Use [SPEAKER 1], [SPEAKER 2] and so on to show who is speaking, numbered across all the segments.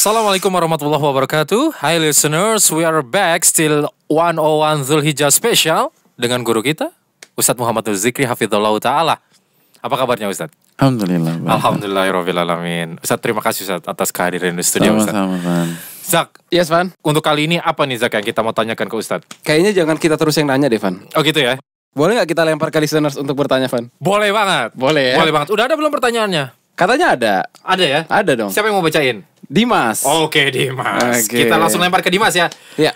[SPEAKER 1] Assalamualaikum warahmatullahi wabarakatuh. Hi listeners, we are back still 101 Zulhijjah special dengan guru kita Ustadz Muhammad Zikri Hafidhullah Ta'ala. Apa kabarnya Ustadz?
[SPEAKER 2] Alhamdulillah. Bang.
[SPEAKER 1] Alhamdulillahirrahmanirrahim. Ustadz terima kasih Ustadz atas kehadiran di studio Ustadz.
[SPEAKER 2] Sama-sama, Bang.
[SPEAKER 1] Zak,
[SPEAKER 3] Yes, Van.
[SPEAKER 1] untuk kali ini apa nih Zak yang kita mau tanyakan ke Ustadz?
[SPEAKER 3] Kayaknya jangan kita terus yang nanya deh, Van.
[SPEAKER 1] Oh gitu ya?
[SPEAKER 3] Boleh nggak kita lempar ke listeners untuk bertanya, Van?
[SPEAKER 1] Boleh banget.
[SPEAKER 3] Boleh ya?
[SPEAKER 1] Boleh banget. Udah ada belum pertanyaannya?
[SPEAKER 3] Katanya ada.
[SPEAKER 1] Ada ya?
[SPEAKER 3] Ada dong.
[SPEAKER 1] Siapa yang mau bacain?
[SPEAKER 3] Dimas.
[SPEAKER 1] Oke Dimas.
[SPEAKER 3] Oke.
[SPEAKER 1] Kita langsung lempar ke Dimas ya.
[SPEAKER 3] Ya.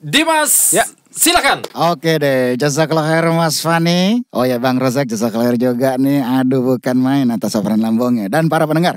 [SPEAKER 1] Dimas,
[SPEAKER 3] Ya.
[SPEAKER 1] silakan.
[SPEAKER 4] Oke deh, jazakallah khair Mas Fani. Oh ya Bang Rozak, jazakallah khair juga nih. Aduh bukan main atas operan lambungnya. Dan para pendengar,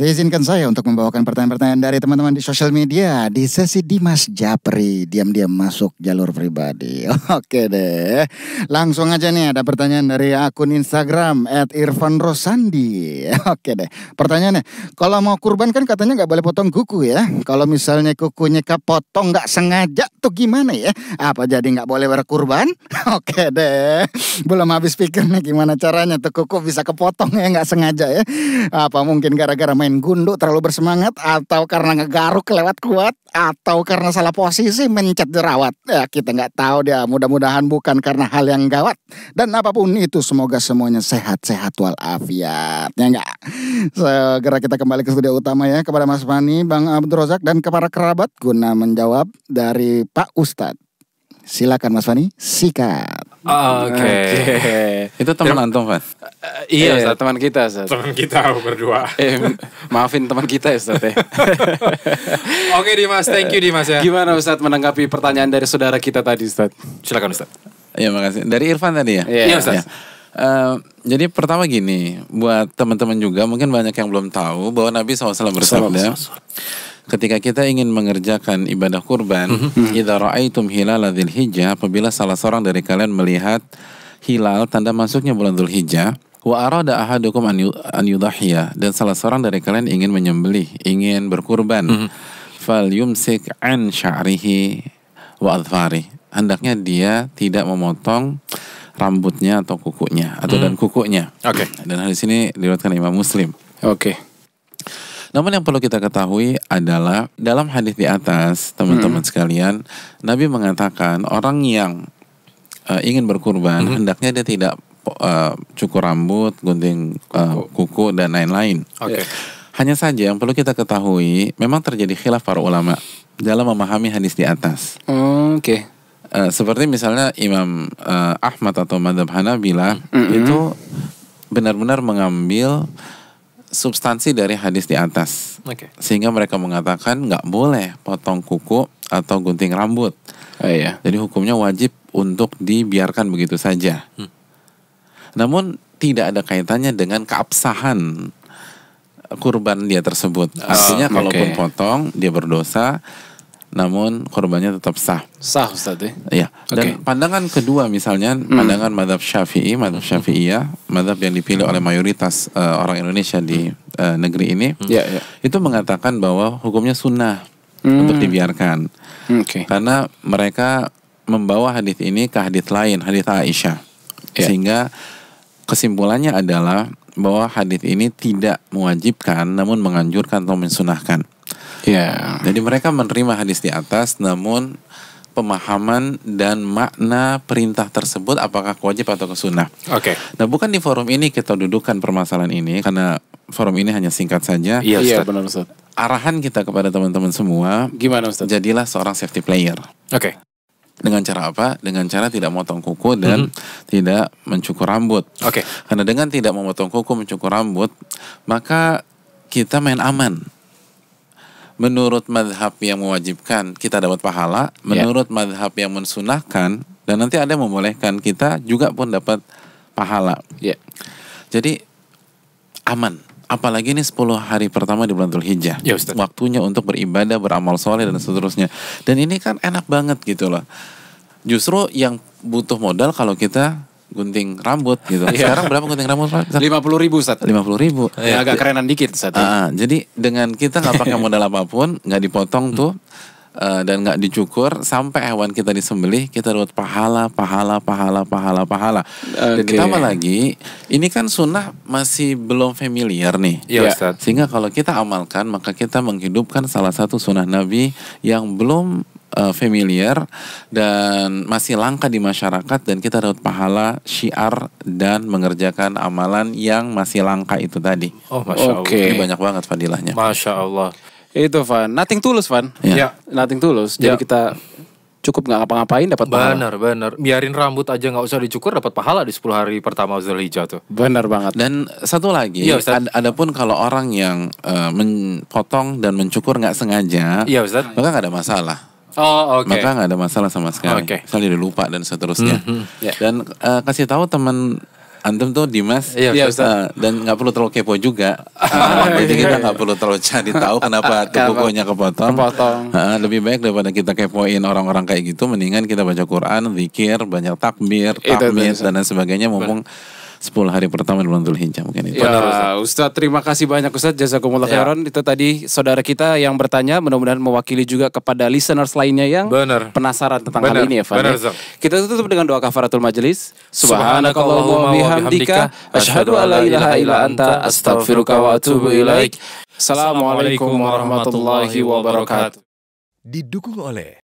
[SPEAKER 4] izinkan saya untuk membawakan pertanyaan-pertanyaan dari teman-teman di sosial media di sesi Dimas Japri. Diam-diam masuk jalur pribadi. Oke deh, langsung aja nih ada pertanyaan dari akun Instagram @irfanrosandi. Oke deh, pertanyaannya, kalau mau kurban kan katanya nggak boleh potong kuku ya. Kalau misalnya kukunya kepotong nggak sengaja tuh gimana ya? Apa jadi nggak boleh berkurban? Oke deh. Belum habis pikir nih gimana caranya tuh kuku bisa kepotong ya nggak sengaja ya. Apa mungkin gara-gara main gunduk terlalu bersemangat atau karena ngegaruk lewat kuat atau karena salah posisi mencet jerawat? Ya kita nggak tahu dia. Mudah-mudahan bukan karena hal yang gawat. Dan apapun itu semoga semuanya sehat-sehat walafiat. Ya enggak? Segera kita kembali ke studio utama ya kepada Mas Fani, Bang Abdul Rozak dan kepada kerabat guna menjawab dari Pak Ustadz. Silakan Mas Fani, sikat.
[SPEAKER 1] Oke.
[SPEAKER 2] Itu teman antum, Van.
[SPEAKER 1] Eh,
[SPEAKER 3] Iya,
[SPEAKER 1] iya,
[SPEAKER 3] Ustaz.
[SPEAKER 1] Ustadz.
[SPEAKER 3] teman kita, Ustaz.
[SPEAKER 1] Teman kita berdua.
[SPEAKER 3] Eh, maafin teman kita, Ustaz. Ya.
[SPEAKER 1] Oke Dimas, thank you Dimas ya.
[SPEAKER 3] Gimana Ustaz menanggapi pertanyaan dari saudara kita tadi, Ustaz?
[SPEAKER 1] Silakan Ustadz.
[SPEAKER 2] Iya, makasih. Dari Irfan tadi ya?
[SPEAKER 3] Iya.
[SPEAKER 1] Iya, Ustaz.
[SPEAKER 2] Iya. Eh, jadi pertama gini, buat teman-teman juga mungkin banyak yang belum tahu bahwa Nabi SAW bersabda, ketika kita ingin mengerjakan ibadah kurban, idza raaitum hilala dzulhijjah, apabila salah seorang dari kalian melihat hilal tanda masuknya bulan dzulhijjah, wa arada ahadukum an yu- an yudhhiya, dan salah seorang dari kalian ingin menyembelih, ingin berkurban, fal yumsik an sya'rihi wa adfari. Hendaknya dia tidak memotong rambutnya atau kukunya atau dan kukunya.
[SPEAKER 1] Oke.
[SPEAKER 2] Dan hal di sini diriwayatkan Imam Muslim.
[SPEAKER 3] Oke.
[SPEAKER 2] Namun yang perlu kita ketahui adalah dalam hadis di atas, teman-teman sekalian, Nabi mengatakan orang yang eh, ingin berkurban hendaknya dia tidak eh, cukur rambut, gunting eh, kuku dan lain-lain.
[SPEAKER 1] Oke.
[SPEAKER 2] Hanya saja yang perlu kita ketahui, memang terjadi khilaf para ulama dalam memahami hadis di atas.
[SPEAKER 3] Oke.
[SPEAKER 2] Eh, seperti misalnya Imam eh, Ahmad atau Madhab Hanabila itu benar-benar mengambil substansi dari hadis di atas
[SPEAKER 1] Oke.
[SPEAKER 2] sehingga mereka mengatakan nggak boleh potong kuku atau gunting rambut
[SPEAKER 3] Oh iya.
[SPEAKER 2] jadi hukumnya wajib untuk dibiarkan begitu saja
[SPEAKER 3] Hmm.
[SPEAKER 2] namun tidak ada kaitannya dengan keabsahan kurban dia tersebut artinya
[SPEAKER 3] Oh, oke.
[SPEAKER 2] kalaupun potong dia berdosa namun kurbannya tetap sah
[SPEAKER 3] Sah, Ustaz. Ya.
[SPEAKER 2] Iya. Dan
[SPEAKER 3] Oke. Hmm.
[SPEAKER 2] pandangan kedua misalnya pandangan madhab syafi'i, madhab syafi'iyah, madhab yang dipilih oleh mayoritas eh, orang Indonesia di eh, negeri ini,
[SPEAKER 3] Ya, ya.
[SPEAKER 2] itu mengatakan bahwa hukumnya sunnah untuk dibiarkan
[SPEAKER 3] Oke.
[SPEAKER 2] karena mereka membawa hadis ini ke hadis lain, hadis Aisyah,
[SPEAKER 3] Ya.
[SPEAKER 2] sehingga kesimpulannya adalah bahwa hadis ini tidak mewajibkan, namun menganjurkan atau mensunahkan.
[SPEAKER 3] Ya.
[SPEAKER 2] Jadi mereka menerima hadis di atas namun pemahaman dan makna perintah tersebut apakah wajib atau kesunah.
[SPEAKER 1] Oke.
[SPEAKER 2] Nah bukan di forum ini kita dudukan permasalahan ini karena forum ini hanya singkat saja.
[SPEAKER 1] Iya,
[SPEAKER 3] Iya,
[SPEAKER 1] Ustaz.
[SPEAKER 3] benar, Ustaz.
[SPEAKER 2] Arahan kita kepada teman-teman semua,
[SPEAKER 3] Gimana, Ustaz?
[SPEAKER 2] jadilah seorang safety player.
[SPEAKER 1] Oke.
[SPEAKER 2] Dengan cara apa? Dengan cara tidak motong kuku dan tidak mencukur rambut.
[SPEAKER 1] Oke.
[SPEAKER 2] Karena dengan tidak memotong kuku, mencukur rambut, maka kita main aman. Menurut madhab yang mewajibkan, kita dapat pahala.
[SPEAKER 1] Ya.
[SPEAKER 2] Menurut madhab yang mensunahkan, dan nanti ada yang membolehkan, kita juga pun dapat pahala.
[SPEAKER 3] Ya.
[SPEAKER 2] Jadi aman. Apalagi ini 10 hari pertama di bulan Dzulhijjah.
[SPEAKER 1] Ya, Ustaz.
[SPEAKER 2] Waktunya untuk beribadah, beramal soleh dan seterusnya. Dan ini kan enak banget gitu loh. Justru yang butuh modal kalau kita gunting rambut gitu.
[SPEAKER 1] Iya.
[SPEAKER 2] Sekarang berapa gunting rambut? Pak? Iya, Ustaz?
[SPEAKER 3] 50 ribu, Ustaz.
[SPEAKER 2] lima puluh ribu.
[SPEAKER 3] Iya. Ya, agak kerenan dikit, Ustaz.
[SPEAKER 2] Ah, ah, jadi dengan kita nggak pakai modal apapun, nggak dipotong tuh eh, dan nggak dicukur sampai hewan kita disembelih kita dapat pahala pahala pahala pahala pahala dan
[SPEAKER 3] Oke.
[SPEAKER 2] ditambah lagi ini kan sunnah masih belum familiar nih Ya,
[SPEAKER 1] Iya, Ustaz.
[SPEAKER 2] sehingga kalau kita amalkan maka kita menghidupkan salah satu sunnah Nabi yang belum eh, familiar dan masih langka di masyarakat dan kita dapat pahala syiar dan mengerjakan amalan yang masih langka itu tadi.
[SPEAKER 1] Oh, masya
[SPEAKER 3] Oke.
[SPEAKER 1] Allah.
[SPEAKER 2] Ini banyak banget fadilahnya.
[SPEAKER 1] Masya Allah.
[SPEAKER 3] Itu Van, nothing tulus Van.
[SPEAKER 2] Ya.
[SPEAKER 1] Ya.
[SPEAKER 3] Nothing tulus.
[SPEAKER 1] Ya.
[SPEAKER 3] Jadi kita cukup nggak ngapa-ngapain dapat pahala.
[SPEAKER 1] Benar, benar. Biarin rambut aja nggak usah dicukur dapat pahala di 10 hari pertama Zulhijjah tuh.
[SPEAKER 3] Benar banget.
[SPEAKER 2] Dan satu lagi,
[SPEAKER 1] Iya, Ustaz.
[SPEAKER 2] ad- adapun kalau orang yang eh, menpotong dan mencukur nggak sengaja,
[SPEAKER 1] Iya, Ustaz.
[SPEAKER 2] maka nggak ada masalah.
[SPEAKER 1] Oh, oke.
[SPEAKER 2] Maka nggak ada masalah sama sekali.
[SPEAKER 1] Oke.
[SPEAKER 2] Misalnya dia lupa dan seterusnya. Dan eh, kasih tahu teman antum tuh Dimas,
[SPEAKER 1] Iya,
[SPEAKER 2] eh,
[SPEAKER 1] Ustaz.
[SPEAKER 2] dan nggak perlu terlalu kepo juga. Eh, jadi kita nggak perlu terlalu cari tahu kenapa kukunya kepotong.
[SPEAKER 3] Kepotong.
[SPEAKER 2] Eh, lebih baik daripada kita kepoin orang-orang kayak gitu, mendingan kita baca Quran, zikir, banyak takbir,
[SPEAKER 3] Itu, itu,
[SPEAKER 2] takmir
[SPEAKER 3] Ustaz.
[SPEAKER 2] dan lain sebagainya. Mumpung 10 hari pertama di bulan Dzulhijjah mungkin itu.
[SPEAKER 3] Ya, Ustaz, terima kasih banyak Ustaz Jazakumullah
[SPEAKER 1] Ya.
[SPEAKER 3] khairan Itu tadi saudara kita yang bertanya Mudah-mudahan mewakili juga kepada listeners lainnya yang
[SPEAKER 1] Benar.
[SPEAKER 3] penasaran tentang
[SPEAKER 1] Benar,
[SPEAKER 3] hal ini ya Fan,
[SPEAKER 1] benar,
[SPEAKER 3] ya.
[SPEAKER 1] Zak.
[SPEAKER 3] Kita tutup dengan doa kafaratul majelis
[SPEAKER 1] Subhanakallahumma
[SPEAKER 3] Subhanakallahumma bihamdika Ashadu an la ilaha illa anta Astagfiruka wa atubu ilaik Assalamualaikum warahmatullahi wabarakatuh
[SPEAKER 5] didukung oleh